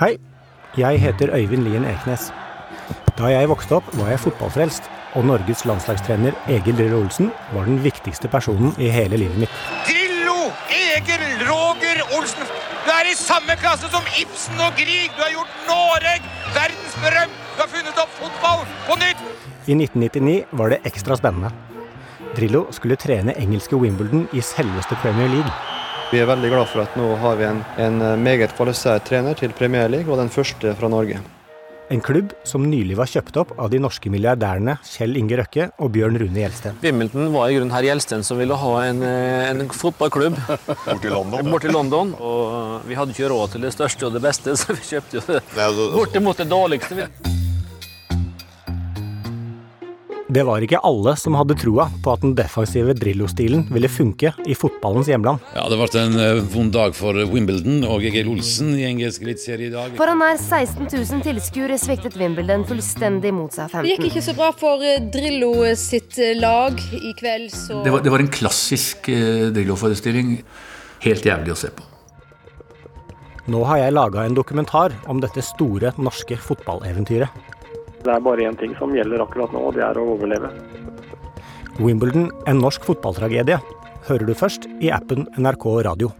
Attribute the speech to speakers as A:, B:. A: Hei, jeg heter Øyvind Lien Eknes. Da jeg vokste opp, var jeg fotballfrelst, og Norges landslagstrener Egil Røe Olsen var den viktigste personen i hele livet mitt.
B: Drillo, Egil, Roger, Olsen. Du er i samme klasse som Ibsen og Grieg. Du har gjort Noreg verdensberømt. Du har funnet opp fotball på nytt.
A: I 1999 var det ekstra spennende. Drillo skulle trene engelske Wimbledon i selveste Premier League.
C: Vi er veldig glad for at nå har vi en, en eh, meget kvalifisert trener til Premier League, og den første fra Norge.
A: En klubb som nylig var kjøpt opp av de norske milliardærene Kjell Inge Røkke og Bjørn Rune Gjelsten.
D: Wimbledon var i grunnen herr Gjelsten som ville ha en, eh, en fotballklubb
E: Borti London.
D: borte i London. Og vi hadde ikke råd til det største og det beste, så vi kjøpte jo det
E: Nei, altså,
D: bortimot det dårligste.
A: Det var ikke alle som hadde troa på at den defensive Drillo-stilen ville funke i fotballens hjemland.
F: Ja, Det ble en eh, vond dag for Wimbledon og Egil Olsen i engelsk eliteserie i dag.
G: Foran nær 16 000 tilskuere sviktet Wimbledon fullstendig mot seg
H: Det gikk
G: 15.
H: ikke så bra for eh, Drillo sitt eh, lag i kveld, så
I: Det var, det var en klassisk eh, Drillo-forestilling. Helt jævlig å se på.
A: Nå har jeg laga en dokumentar om dette store norske fotballeventyret.
J: Det er bare én ting som gjelder akkurat nå, og det er å overleve.
A: Wimbledon en norsk fotballtragedie. Hører du først i appen NRK Radio.